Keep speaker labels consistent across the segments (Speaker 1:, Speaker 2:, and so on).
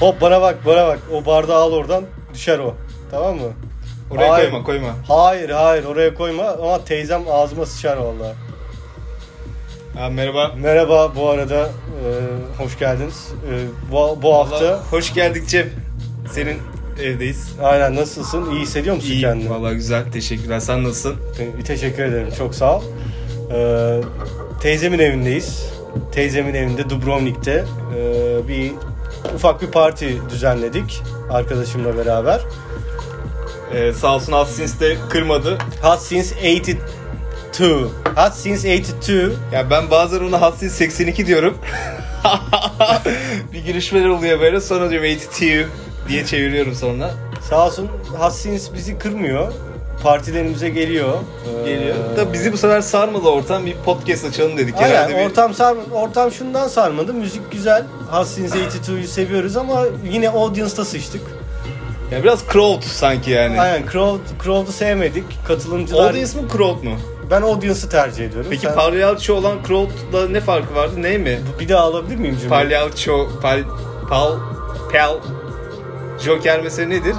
Speaker 1: Hop bana bak bana bak. O bardağı al oradan düşer o. Tamam mı?
Speaker 2: Oraya
Speaker 1: Hayır.
Speaker 2: koyma koyma.
Speaker 1: Hayır hayır oraya koyma ama teyzem ağzıma sıçar vallahi.
Speaker 2: Abi merhaba.
Speaker 1: Merhaba bu arada e, hoş geldiniz. E, bu, bu hafta
Speaker 2: Vallahi hoş geldik Cem. Senin evdeyiz.
Speaker 1: aynen nasılsın? İyi hissediyor musun
Speaker 2: İyi.
Speaker 1: kendini?
Speaker 2: Vallahi güzel. Teşekkürler. Sen nasılsın?
Speaker 1: Te- Teşekkür ederim. Çok sağ ol. Ee, teyzemin evindeyiz. Teyzemin evinde Dubrovnik'te ee, bir ufak bir parti düzenledik arkadaşımla beraber.
Speaker 2: Ee, sağ olsun Assins de kırmadı.
Speaker 1: Hot since 82. Hot since 82.
Speaker 2: Ya ben bazen ona Assins 82 diyorum. bir girişmeler oluyor böyle. Sonra diyorum 82 diye çeviriyorum sonra.
Speaker 1: Sağ olsun Hot since bizi kırmıyor. Partilerimize geliyor. Ee,
Speaker 2: Geliyor. Da bizi bu sefer sarmadı ortam. Bir podcast açalım dedik. Herhalde
Speaker 1: Aynen
Speaker 2: bir-
Speaker 1: ortam sar ortam şundan sarmadı. Müzik güzel. Hot since 82'yu seviyoruz ama yine audience'da sıçtık.
Speaker 2: Ya biraz crowd sanki yani.
Speaker 1: Aynen crowd, crowd'u sevmedik. Katılımcılar...
Speaker 2: Audience mi crowd mu?
Speaker 1: Ben audience'ı tercih ediyorum.
Speaker 2: Peki
Speaker 1: Sen-
Speaker 2: palyaço olan crowd'la ne farkı vardı? Ne mi?
Speaker 1: bir daha alabilir miyim cümleyi?
Speaker 2: Palyaço, pal, pal, pel. Joker mesela nedir?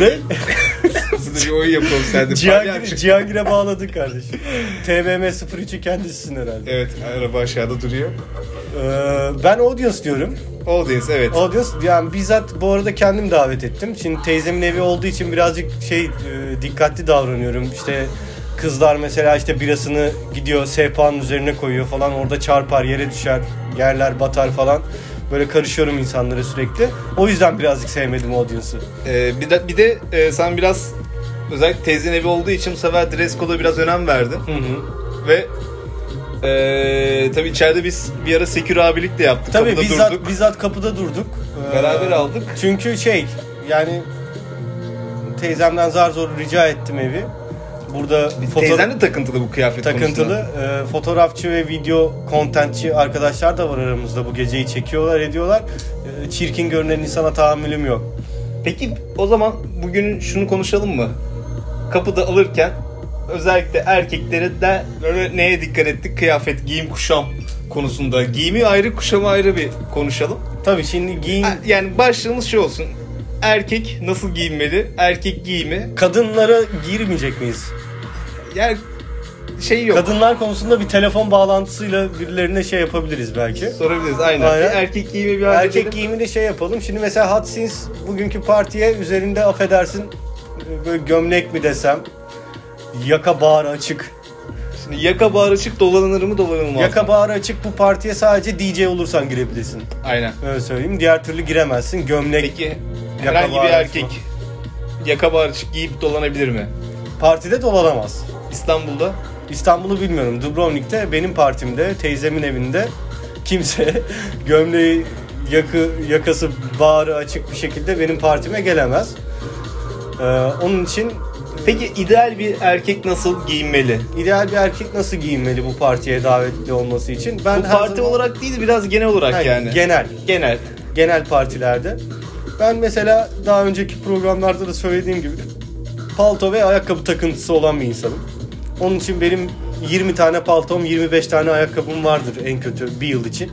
Speaker 1: Ne?
Speaker 2: Burada bir oyun yapalım sende.
Speaker 1: Cihangir'e,
Speaker 2: Palyaço.
Speaker 1: Cihangir'e bağladın kardeşim. TBM 03'ü kendisisin herhalde.
Speaker 2: Evet, araba aşağıda duruyor.
Speaker 1: Ee, ben audience diyorum.
Speaker 2: Audience, evet.
Speaker 1: Audience yani bizzat bu arada kendim davet ettim. Şimdi teyzemin evi olduğu için birazcık şey e, dikkatli davranıyorum. İşte kızlar mesela işte birasını gidiyor sehpanın üzerine koyuyor falan. Orada çarpar yere düşer yerler batar falan. Böyle karışıyorum insanlara sürekli. O yüzden birazcık sevmedim audience'ı.
Speaker 2: Ee, bir de, bir de e, sen biraz özellikle teyzenin evi olduğu için bu sefer dress code'a biraz önem verdin.
Speaker 1: Hı hı.
Speaker 2: Ve e, tabii içeride biz bir ara Sekür abilik de yaptık.
Speaker 1: Tabii
Speaker 2: Kapıda
Speaker 1: bizzat,
Speaker 2: durduk.
Speaker 1: bizzat kapıda durduk. Ee,
Speaker 2: Beraber aldık.
Speaker 1: Çünkü şey yani teyzemden zar zor rica ettim evi. Burada
Speaker 2: Teyzen
Speaker 1: fotoğraf
Speaker 2: de takıntılı bu kıyafet konusunda.
Speaker 1: takıntılı e, fotoğrafçı ve video kontentçi arkadaşlar da var aramızda bu geceyi çekiyorlar ediyorlar. E, çirkin görünen insana tahammülüm yok.
Speaker 2: Peki o zaman bugün şunu konuşalım mı? Kapıda alırken özellikle erkeklere de böyle neye dikkat ettik? Kıyafet, giyim, kuşam konusunda. Giyimi ayrı, kuşamı ayrı bir konuşalım.
Speaker 1: Tabii şimdi giyin
Speaker 2: E, Yani başlığımız şu olsun. Erkek nasıl giyinmeli? Erkek giyimi.
Speaker 1: kadınlara girmeyecek miyiz?
Speaker 2: Yani şey yok.
Speaker 1: Kadınlar konusunda bir telefon bağlantısıyla birilerine şey yapabiliriz belki.
Speaker 2: Sorabiliriz aynen.
Speaker 1: Aynen.
Speaker 2: Bir erkek giyimi bir halledelim.
Speaker 1: Erkek giyimini şey yapalım. Şimdi mesela Hot Sins bugünkü partiye üzerinde affedersin e, böyle gömlek mi desem yaka bağrı açık.
Speaker 2: Şimdi yaka bağır açık dolanır mı dolanılmaz. mı?
Speaker 1: Yaka bağrı açık bu partiye sadece DJ olursan girebilirsin.
Speaker 2: Aynen.
Speaker 1: Öyle söyleyeyim. Diğer türlü giremezsin. Gömlek
Speaker 2: Peki
Speaker 1: Yaka
Speaker 2: herhangi
Speaker 1: bağır
Speaker 2: bir
Speaker 1: açma.
Speaker 2: erkek yaka bağır açık giyip dolanabilir mi?
Speaker 1: partide dolanamaz.
Speaker 2: İstanbul'da
Speaker 1: İstanbul'u bilmiyorum. Dubrovnik'te benim partimde, teyzemin evinde kimse gömleği yakı, yakası bağrı açık bir şekilde benim partime gelemez. Ee, onun için
Speaker 2: Peki ideal bir erkek nasıl giyinmeli?
Speaker 1: İdeal bir erkek nasıl giyinmeli bu partiye davetli olması için? Ben
Speaker 2: Bu
Speaker 1: her
Speaker 2: parti
Speaker 1: zaman-
Speaker 2: olarak değil biraz genel olarak
Speaker 1: Hayır,
Speaker 2: yani.
Speaker 1: genel
Speaker 2: genel.
Speaker 1: genel partilerde. Ben mesela daha önceki programlarda da söylediğim gibi palto ve ayakkabı takıntısı olan bir insanım. Onun için benim 20 tane paltom, 25 tane ayakkabım vardır en kötü bir yıl için.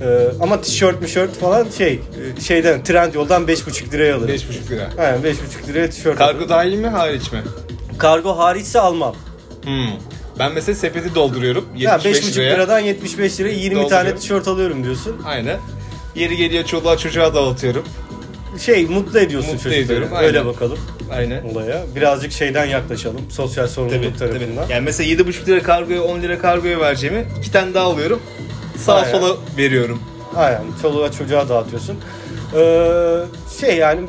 Speaker 1: Ee, ama tişört mişört falan şey e, şeyden trend yoldan 5,5 liraya alırım.
Speaker 2: 5,5 lira.
Speaker 1: Aynen 5,5 liraya tişört alırım.
Speaker 2: dahil mi hariç mi?
Speaker 1: Kargo hariçse almam.
Speaker 2: Hmm. Ben mesela sepeti dolduruyorum.
Speaker 1: Ya
Speaker 2: 75
Speaker 1: 5,5
Speaker 2: liraya.
Speaker 1: liradan 75 liraya 20 tane
Speaker 2: Dolduruyor.
Speaker 1: tişört alıyorum diyorsun.
Speaker 2: Aynen. Yeri geliyor çoluğa çocuğa dağıtıyorum.
Speaker 1: şey mutlu ediyorsun
Speaker 2: Mutlu
Speaker 1: çocukları.
Speaker 2: ediyorum,
Speaker 1: Öyle
Speaker 2: aynen.
Speaker 1: bakalım
Speaker 2: Aynen.
Speaker 1: olaya. Birazcık şeyden yaklaşalım. Sosyal sorumluluk
Speaker 2: Tabii, tabii.
Speaker 1: tarafından.
Speaker 2: Yani mesela 7,5 lira kargoya 10 lira kargoya vereceğimi iki tane daha alıyorum. Sağa
Speaker 1: Aynen.
Speaker 2: sola veriyorum.
Speaker 1: Aynen. Çoluğa çocuğa dağıtıyorsun. Ee, şey yani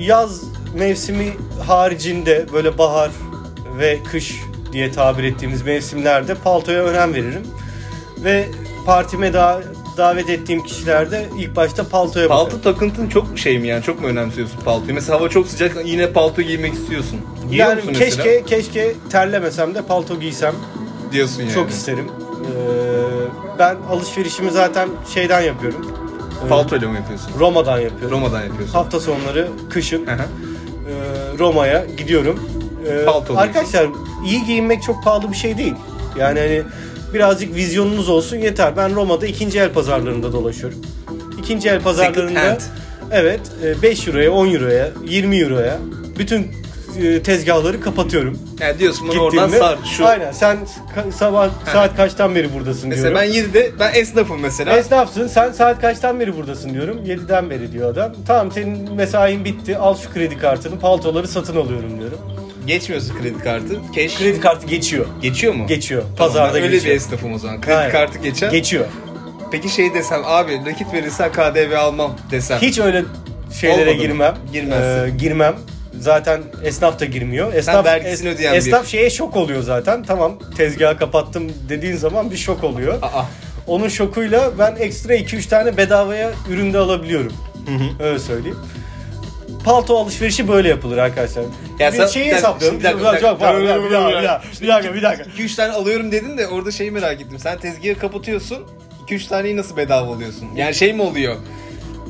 Speaker 1: yaz mevsimi haricinde böyle bahar ve kış diye tabir ettiğimiz mevsimlerde paltoya önem veririm. Ve partime da davet ettiğim kişilerde ilk başta paltoya
Speaker 2: Palto
Speaker 1: bakarım.
Speaker 2: takıntın çok mu şey mi yani çok mu önemsiyorsun paltoyu? Mesela hava çok sıcak yine palto giymek istiyorsun. Giyiyor
Speaker 1: Yani
Speaker 2: musun
Speaker 1: keşke
Speaker 2: mesela?
Speaker 1: keşke terlemesem de palto giysem
Speaker 2: Diyorsun yani.
Speaker 1: Çok isterim. Ee, ben alışverişimi zaten şeyden yapıyorum. Ee,
Speaker 2: Paltoyla mı yapıyorsun?
Speaker 1: Roma'dan yapıyorum.
Speaker 2: Roma'dan yapıyorsun.
Speaker 1: Hafta sonları kışın
Speaker 2: Aha.
Speaker 1: e, Roma'ya gidiyorum. Ee,
Speaker 2: Palto
Speaker 1: arkadaşlar iyi giyinmek çok pahalı bir şey değil. Yani hani birazcık vizyonunuz olsun yeter. Ben Roma'da ikinci el pazarlarında dolaşıyorum. ikinci el
Speaker 2: Second
Speaker 1: pazarlarında
Speaker 2: hand.
Speaker 1: evet e, 5 euroya, 10 euroya, 20 euroya bütün e, tezgahları kapatıyorum.
Speaker 2: Yani diyorsun bana
Speaker 1: Gittiğimde-
Speaker 2: oradan sar şu.
Speaker 1: Aynen sen ka- sabah saat kaçtan beri buradasın
Speaker 2: Mesela
Speaker 1: diyorum.
Speaker 2: ben 7'de ben esnafım mesela.
Speaker 1: Esnafsın sen saat kaçtan beri buradasın diyorum. 7'den beri diyor adam. Tamam senin mesain bitti al şu kredi kartını paltoları satın alıyorum diyorum.
Speaker 2: Geçmiyorsun kredi kartı. Cash
Speaker 1: Kredi kartı geçiyor.
Speaker 2: geçiyor mu?
Speaker 1: Geçiyor.
Speaker 2: Tamam,
Speaker 1: Pazarda
Speaker 2: ben öyle
Speaker 1: geçiyor.
Speaker 2: bir esnafım o zaman. Kredi
Speaker 1: Aynen.
Speaker 2: kartı geçer.
Speaker 1: Geçiyor.
Speaker 2: Peki şey desem abi nakit verirsen KDV almam desem.
Speaker 1: Hiç öyle şeylere
Speaker 2: Olmadı mı?
Speaker 1: girmem.
Speaker 2: Girmezsin.
Speaker 1: Ee, girmem. Zaten esnaf da girmiyor. Esnaf,
Speaker 2: vergisini ödeyen bir-
Speaker 1: esnaf şeye şok oluyor zaten. Tamam tezgahı kapattım dediğin zaman bir şok oluyor.
Speaker 2: Aa.
Speaker 1: Onun şokuyla ben ekstra 2-3 tane bedavaya ürün de alabiliyorum. Öyle söyleyeyim. Palto alışverişi böyle yapılır arkadaşlar.
Speaker 2: Ya
Speaker 1: bir
Speaker 2: sen-
Speaker 1: şeyi
Speaker 2: sen-
Speaker 1: hesaplıyorum.
Speaker 2: bir
Speaker 1: Bir
Speaker 2: dakika,
Speaker 1: dakika,
Speaker 2: bir dakika.
Speaker 1: bir dakika, bir dakika, bir dakika, bir dakika, bir dakika.
Speaker 2: 2-3 tane alıyorum dedin de orada şeyi merak ettim. Sen tezgahı kapatıyorsun. 2-3 taneyi nasıl bedava alıyorsun? Yani şey mi oluyor?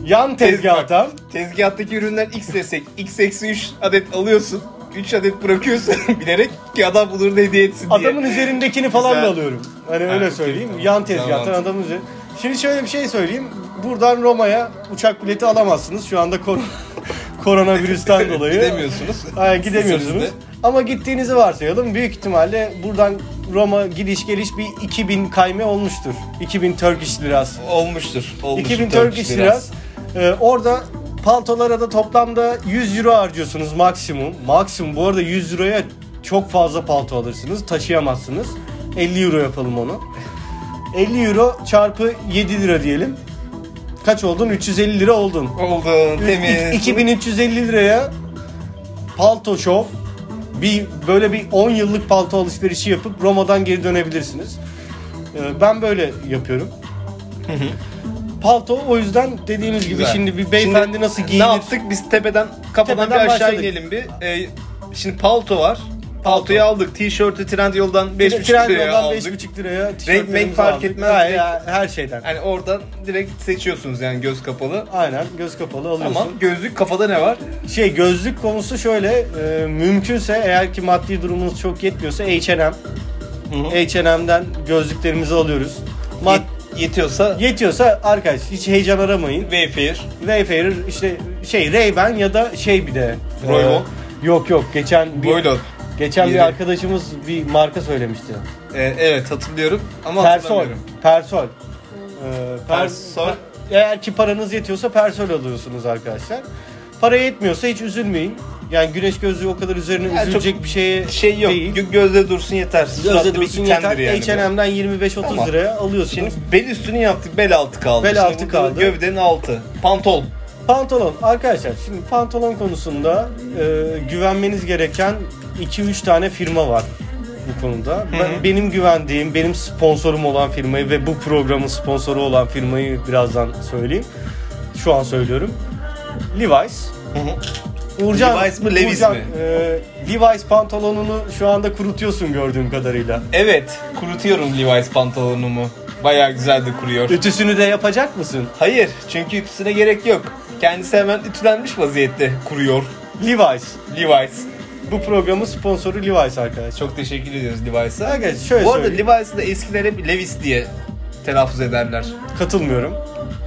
Speaker 1: Yan tezgahtan
Speaker 2: Tezgahtaki ürünler x desek x eksi 3 adet alıyorsun. 3 adet bırakıyorsun bilerek ki adam bunu hediye etsin diye.
Speaker 1: Adamın üzerindekini falan da
Speaker 2: Güzel.
Speaker 1: alıyorum. Hani öyle
Speaker 2: okey,
Speaker 1: söyleyeyim.
Speaker 2: tamam.
Speaker 1: Yan tezgahtan
Speaker 2: Tamam.
Speaker 1: adamın üzeri- Şimdi şöyle bir şey söyleyeyim. Buradan Roma'ya uçak bileti alamazsınız. Şu anda kor- koronavirüsten dolayı.
Speaker 2: Gidemiyorsunuz.
Speaker 1: Aynen, gidemiyorsunuz.
Speaker 2: Sizin
Speaker 1: Ama gittiğinizi varsayalım. Büyük ihtimalle buradan Roma gidiş geliş bir 2000 kayme olmuştur. 2000 Turkish liras.
Speaker 2: de. Olmuştur. olmuştur
Speaker 1: 2000 Turkish liras. Ee, orada paltolara da toplamda 100 euro harcıyorsunuz maksimum. Maksimum bu arada 100 euroya çok fazla palto alırsınız. Taşıyamazsınız. 50 euro yapalım onu. 50 euro çarpı 7 lira diyelim. Kaç oldun? 350 lira oldun.
Speaker 2: Oldun temiz.
Speaker 1: 2350 liraya palto şov bir böyle bir 10 yıllık palto alışverişi yapıp Roma'dan geri dönebilirsiniz. Ee, Ben böyle yapıyorum. Palto o yüzden dediğimiz gibi
Speaker 2: Güzel.
Speaker 1: şimdi bir beyefendi
Speaker 2: Şimdi
Speaker 1: nasıl giyinir?
Speaker 2: Ne yaptık? Biz tepeden kafadan
Speaker 1: Tepeden
Speaker 2: bir aşağı
Speaker 1: başladık.
Speaker 2: inelim bir. Ee, şimdi palto var. Paltoyu aldık. T-shirt'ü Trendyol'dan 5,5 liraya
Speaker 1: Trendyol'dan
Speaker 2: aldık.
Speaker 1: 5,5 liraya
Speaker 2: renk fark etmez.
Speaker 1: Her, her şeyden.
Speaker 2: Yani oradan direkt seçiyorsunuz yani göz kapalı.
Speaker 1: Aynen göz kapalı alıyorsun.
Speaker 2: Ama gözlük kafada ne var?
Speaker 1: Şey gözlük konusu şöyle e, mümkünse eğer ki maddi durumunuz çok yetmiyorsa H&M H&M'den gözlüklerimizi alıyoruz. Mad-
Speaker 2: Yet- yetiyorsa
Speaker 1: yetiyorsa arkadaş hiç heyecan aramayın.
Speaker 2: Wayfair.
Speaker 1: Wayfarer işte şey Ray-Ban ya da şey bir de.
Speaker 2: Ray-Ban?
Speaker 1: Ee, yok yok geçen bir
Speaker 2: Boylon.
Speaker 1: geçen bir
Speaker 2: Yedi.
Speaker 1: arkadaşımız bir marka söylemişti.
Speaker 2: Ee, evet hatırlıyorum ama
Speaker 1: Persol.
Speaker 2: hatırlamıyorum.
Speaker 1: Persol. Ee, per-
Speaker 2: Persol.
Speaker 1: Eğer ki paranız yetiyorsa Persol alıyorsunuz arkadaşlar. Para yetmiyorsa hiç üzülmeyin. Yani güneş gözlüğü o kadar üzerine
Speaker 2: Yani çok
Speaker 1: üzülecek bir şeye
Speaker 2: Şey yok.
Speaker 1: değil.
Speaker 2: gö- Gözde dursun yeter. Suratlı
Speaker 1: Gözde
Speaker 2: bir
Speaker 1: dursun
Speaker 2: itemdir
Speaker 1: yeter. H&M.
Speaker 2: yani bu.
Speaker 1: H&M'den 25-30
Speaker 2: Tamam.
Speaker 1: liraya alıyorsunuz.
Speaker 2: Şimdi bel üstünü yaptık, bel altı kaldı.
Speaker 1: Bel
Speaker 2: Şimdi
Speaker 1: altı
Speaker 2: bu
Speaker 1: kaldı.
Speaker 2: Gövdenin altı. Pantol.
Speaker 1: Pantolon arkadaşlar şimdi pantolon konusunda e, güvenmeniz gereken 2-3 tane firma var bu konuda. Ben, benim güvendiğim, benim sponsorum olan firmayı ve bu programın sponsoru olan firmayı birazdan söyleyeyim. Şu an söylüyorum. Levi's.
Speaker 2: Levi's mi, Levi's mi?
Speaker 1: e, Levi's pantolonunu şu anda kurutuyorsun gördüğüm kadarıyla.
Speaker 2: Evet, kurutuyorum Levi's pantolonumu. Bayağı güzel de kuruyor.
Speaker 1: Ütüsünü de yapacak mısın?
Speaker 2: Hayır, çünkü ütüsüne gerek yok. Kendisi hemen ütülenmiş vaziyette kuruyor
Speaker 1: Levi's.
Speaker 2: Levi's.
Speaker 1: Bu programın sponsoru Levi's arkadaşlar.
Speaker 2: Çok teşekkür ediyoruz Levi's'a.
Speaker 1: Arkadaşlar şöyle
Speaker 2: Bu arada
Speaker 1: söyleyeyim.
Speaker 2: Levi's'ı da eskiler hep Levis diye telaffuz ederler.
Speaker 1: Katılmıyorum.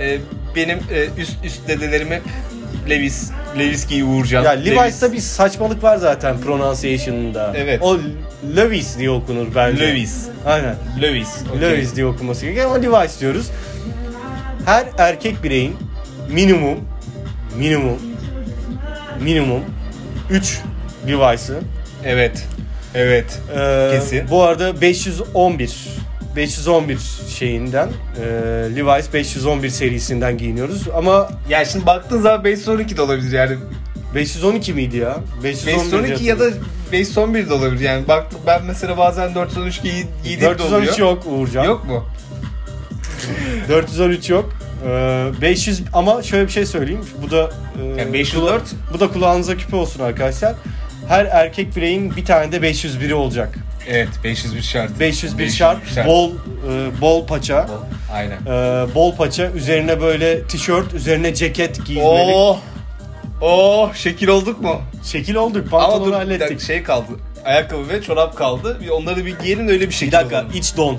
Speaker 2: Ee, benim e, üst üst dedelerim hep Levis, Levis giyi Uğurcan.
Speaker 1: Ya Levi's'ta bir saçmalık var zaten pronunciation'da.
Speaker 2: Evet.
Speaker 1: O Levi's diye okunur bence.
Speaker 2: Levis.
Speaker 1: Aynen.
Speaker 2: Levis. okey.
Speaker 1: Levi's diye okunması gerekiyor ama Levi's diyoruz. Her erkek bireyin minimum minimum minimum 3 Levi's'ı.
Speaker 2: Evet. Evet.
Speaker 1: Ee,
Speaker 2: Kesin.
Speaker 1: Bu arada 511 511 şeyinden e, Levi's 511 serisinden giyiniyoruz ama
Speaker 2: Ya şimdi baktığın zaman 512 de olabilir yani.
Speaker 1: 512 miydi ya?
Speaker 2: 512 ya da 511 de olabilir yani. Baktım ben mesela bazen 413 giy giydiğim de oluyor.
Speaker 1: 413 yok Uğurcan.
Speaker 2: Yok mu?
Speaker 1: 413 yok. Ee, 500 ama şöyle bir şey söyleyeyim. Bu da e,
Speaker 2: Yani 504
Speaker 1: bu da kulağınıza küpe olsun arkadaşlar. Her erkek bireyin bir tane de 501'i olacak.
Speaker 2: Evet 501 şart.
Speaker 1: 501
Speaker 2: 501
Speaker 1: şart,
Speaker 2: şart.
Speaker 1: bol e, bol paça.
Speaker 2: O, Aynen.
Speaker 1: Ee, bol paça, üzerine böyle tişört, üzerine ceket giyinmeli.
Speaker 2: Oh. Oh şekil olduk mu?
Speaker 1: Şekil olduk,
Speaker 2: Ama
Speaker 1: pantolonu
Speaker 2: dur bir
Speaker 1: hallettik.
Speaker 2: dakika, şey kaldı. Ayakkabı ve çorap kaldı. Bir onları bir giyelim de öyle bir şekil
Speaker 1: Bir dakika,
Speaker 2: olalım.
Speaker 1: iç don.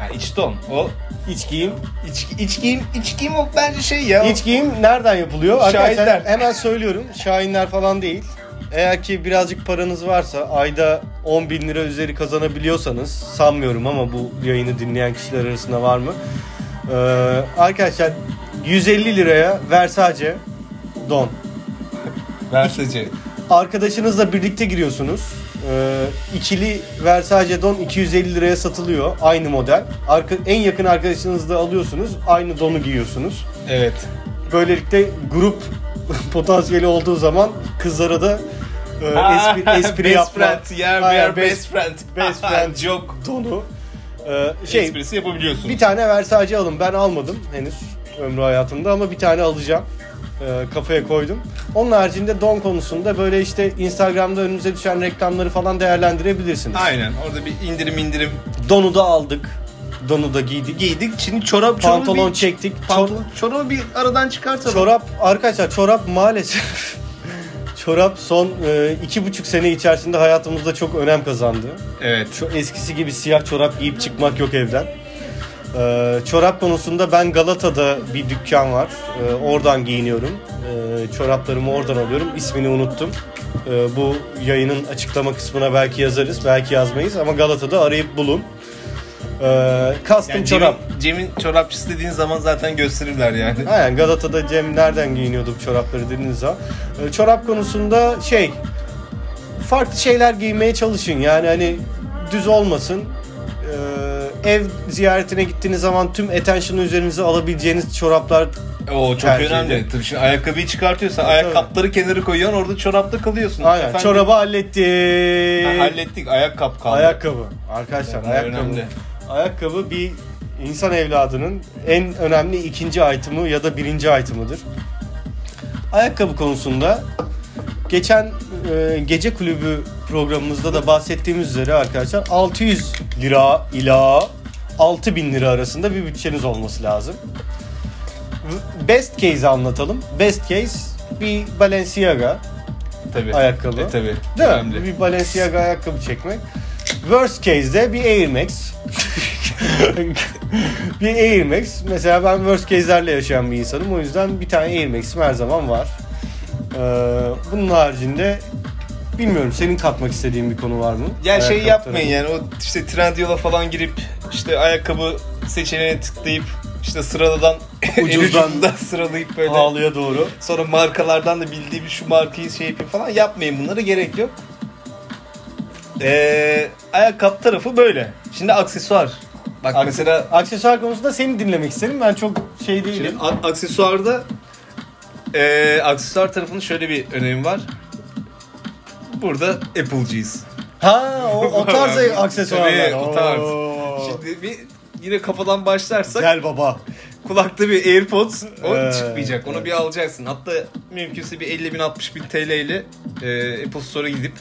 Speaker 2: Yani iç don. O
Speaker 1: İç giyim.
Speaker 2: iç, iç giyim, iç giyim o bence şey ya.
Speaker 1: İç giyim nereden yapılıyor? Arkadaşlar
Speaker 2: Şahinler.
Speaker 1: hemen söylüyorum. Şahinler falan değil. Eğer ki birazcık paranız varsa ayda 10 bin lira üzeri kazanabiliyorsanız sanmıyorum ama bu yayını dinleyen kişiler arasında var mı? Ee, arkadaşlar 150 liraya Versace don.
Speaker 2: Versacı.
Speaker 1: Arkadaşınızla birlikte giriyorsunuz. Ee, ikili Versace don 250 liraya satılıyor. Aynı model. Arka, en yakın arkadaşınızla alıyorsunuz. Aynı donu giyiyorsunuz.
Speaker 2: Evet.
Speaker 1: Böylelikle grup potansiyeli olduğu zaman kızlara da e, espri, espri
Speaker 2: Ah, best
Speaker 1: yapma
Speaker 2: Friend. Yeah, we
Speaker 1: Hayır,
Speaker 2: are best, friend.
Speaker 1: best friend.
Speaker 2: Joke.
Speaker 1: tonu. E, şey
Speaker 2: Esprisi yapabiliyorsun.
Speaker 1: bir tane Versace alın. Ben almadım henüz ömrü hayatımda ama bir tane alacağım. E, kafaya koydum. Onun haricinde don konusunda böyle işte Instagram'da önünüze düşen reklamları falan değerlendirebilirsiniz.
Speaker 2: Aynen. Orada bir indirim indirim
Speaker 1: Donu da aldık. Donu da giydik.
Speaker 2: giydik. Şimdi çorap çorabı
Speaker 1: Pantolon
Speaker 2: bir,
Speaker 1: çektik. Çor-
Speaker 2: pantolon, çorabı bir aradan çıkartalım.
Speaker 1: Çorap arkadaşlar çorap maalesef çorap son e, iki buçuk sene içerisinde hayatımızda çok önem kazandı.
Speaker 2: Evet.
Speaker 1: Şu eskisi gibi siyah çorap giyip çıkmak yok evden. E, çorap konusunda ben Galata'da bir dükkan var. E, oradan giyiniyorum. E, çoraplarımı oradan alıyorum. İsmini unuttum. E, bu yayının açıklama kısmına belki yazarız, belki yazmayız ama Galata'da arayıp bulun. E, custom
Speaker 2: Yani
Speaker 1: çorap.
Speaker 2: Cem'in, Cem'in çorapçısı dediğin zaman zaten gösterirler yani.
Speaker 1: Aynen Galata'da Cem nereden giyiniyordu bu çorapları dediniz zaman. E, Çorap konusunda şey farklı şeyler giymeye çalışın yani hani düz olmasın. E, ev ziyaretine gittiğiniz zaman tüm attention'ı üzerinize alabileceğiniz çoraplar
Speaker 2: O çok
Speaker 1: Tercih
Speaker 2: önemli.
Speaker 1: ediyor.
Speaker 2: Tabii şimdi ayakkabıyı çıkartıyorsan ayakkabıları kenara koyuyorsun orada çorapta kalıyorsun.
Speaker 1: Aynen
Speaker 2: Efendim,
Speaker 1: çorabı
Speaker 2: ha,
Speaker 1: hallettik.
Speaker 2: hallettik ayakkabı kaldı.
Speaker 1: Ayakkabı. Arkadaşlar
Speaker 2: Bunlar
Speaker 1: ayakkabı.
Speaker 2: önemli.
Speaker 1: Ayakkabı bir insan evladının en önemli ikinci item'ı ya da birinci item'ıdır. Ayakkabı konusunda geçen e, gece kulübü programımızda da bahsettiğimiz üzere arkadaşlar 600 lira ila 6000 lira arasında bir bütçeniz olması lazım. Best case'i anlatalım. Best case bir Balenciaga,
Speaker 2: tabii.
Speaker 1: ayakkabı.
Speaker 2: E, tabii.
Speaker 1: Değil
Speaker 2: önemli.
Speaker 1: mi? Bir Balenciaga ayakkabı çekmek. Worst case'de bir Air Max. bir Air Max. Mesela ben worst case'lerle yaşayan bir insanım. O yüzden bir tane Air Max'im her zaman var. Ee, bunun haricinde bilmiyorum senin katmak istediğin bir konu var mı?
Speaker 2: Ya şey
Speaker 1: Ayakkabı
Speaker 2: yapmayın
Speaker 1: tarafı.
Speaker 2: yani o işte Trendyol'a falan girip işte ayakkabı seçeneğine tıklayıp işte sıraladan en
Speaker 1: Ucuzdan.
Speaker 2: ucuzundan sıralayıp böyle
Speaker 1: Pahalıya doğru.
Speaker 2: sonra markalardan da bildiğim şu markayı şey yapayım falan yapmayın bunlara gerek yok. Ee, ayakkabı tarafı böyle. Şimdi aksesuar. Bak mesela
Speaker 1: Aksesuar konusunda seni dinlemek isterim. Ben çok şey değilim.
Speaker 2: Şimdi a- aksesuarda eee aksesuar tarafının şöyle bir önemi var. Burada Apple'cıyız.
Speaker 1: ha o, o tarz
Speaker 2: Tabii,
Speaker 1: aksesuarlar.
Speaker 2: o tarz.
Speaker 1: Oo.
Speaker 2: Şimdi bir yine kafadan başlarsak
Speaker 1: Gel baba.
Speaker 2: kulakta bir AirPods o
Speaker 1: Ee,
Speaker 2: çıkmayacak. Onu bir alacaksın. Hatta mümkünse bir 50 bin 60 bin TL ile eee Apple Store'a gidip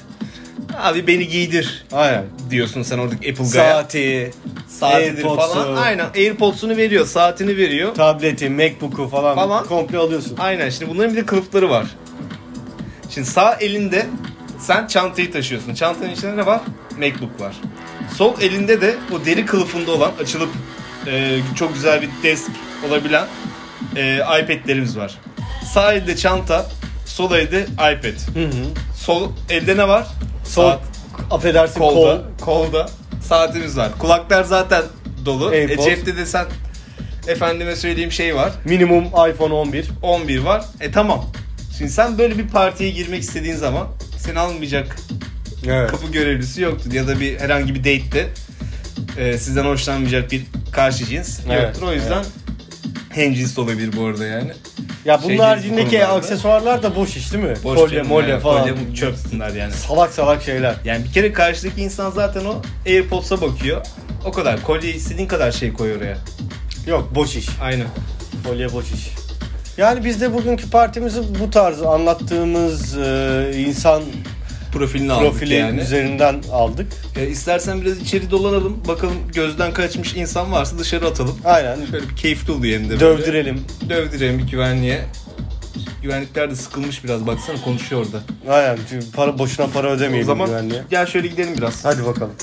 Speaker 2: abi beni giydir
Speaker 1: Aynen.
Speaker 2: diyorsun sen oradaki Apple Guy'a.
Speaker 1: Saati,
Speaker 2: Saatidir falan.
Speaker 1: AirPods'u.
Speaker 2: Aynen AirPods'unu veriyor, saatini veriyor.
Speaker 1: tableti, Macbook'u falan,
Speaker 2: Falan.
Speaker 1: komple alıyorsun.
Speaker 2: Aynen şimdi bunların bir de kılıfları var. Şimdi sağ elinde sen çantayı taşıyorsun. Çantanın içinde ne var? Macbook var. Sol elinde de o deri kılıfında olan açılıp e, çok güzel bir desk olabilen e, iPad'lerimiz var. Sağ elde çanta, sol elde iPad.
Speaker 1: Hı hı.
Speaker 2: Sol elde ne var?
Speaker 1: Sol,
Speaker 2: Saat.
Speaker 1: affedersin
Speaker 2: Kolda,
Speaker 1: kol.
Speaker 2: kolda saatimiz var. Kulaklar zaten dolu. E,
Speaker 1: AirPods.
Speaker 2: cepte de sen efendime söyleyeyim şey var.
Speaker 1: Minimum iPhone 11.
Speaker 2: 11 var. E tamam. Şimdi sen böyle bir partiye girmek istediğin zaman seni almayacak
Speaker 1: Evet.
Speaker 2: kapı görevlisi yoktur. Ya da bir herhangi bir date'te e, sizden hoşlanmayacak bir karşı cins
Speaker 1: Evet,
Speaker 2: yoktur. O yüzden hemcins de olabilir bu arada yani.
Speaker 1: Ya bunun
Speaker 2: Şey, bu
Speaker 1: haricindeki
Speaker 2: konularda-
Speaker 1: aksesuarlar da boş iş değil mi?
Speaker 2: Boş
Speaker 1: kolye,
Speaker 2: canım,
Speaker 1: molye
Speaker 2: yani.
Speaker 1: falan.
Speaker 2: Kolye bu çöp bunlar yani.
Speaker 1: Salak salak şeyler.
Speaker 2: Yani bir kere karşıdaki insan zaten o AirPods'a bakıyor. O kadar. Kolye istediğin kadar şey koy oraya.
Speaker 1: Yok boş iş.
Speaker 2: Aynen.
Speaker 1: Kolye boş iş. Yani biz de bugünkü partimizi bu tarz anlattığımız e, insan
Speaker 2: Profilini aldık
Speaker 1: profili
Speaker 2: yani. E,
Speaker 1: üzerinden aldık.
Speaker 2: istersen biraz içeri dolanalım. Bakalım gözden kaçmış insan varsa dışarı atalım.
Speaker 1: Aynen.
Speaker 2: Şöyle bir keyifli oluyor hem de böyle.
Speaker 1: Dövdürelim.
Speaker 2: Dövdürelim bir güvenliğe. Güvenlikler de sıkılmış biraz baksana konuşuyor orada.
Speaker 1: Aynen. Çünkü Para boşuna para
Speaker 2: O
Speaker 1: ödemeyelim
Speaker 2: zaman
Speaker 1: güvenliğe.
Speaker 2: gel şöyle gidelim biraz.
Speaker 1: Hadi bakalım.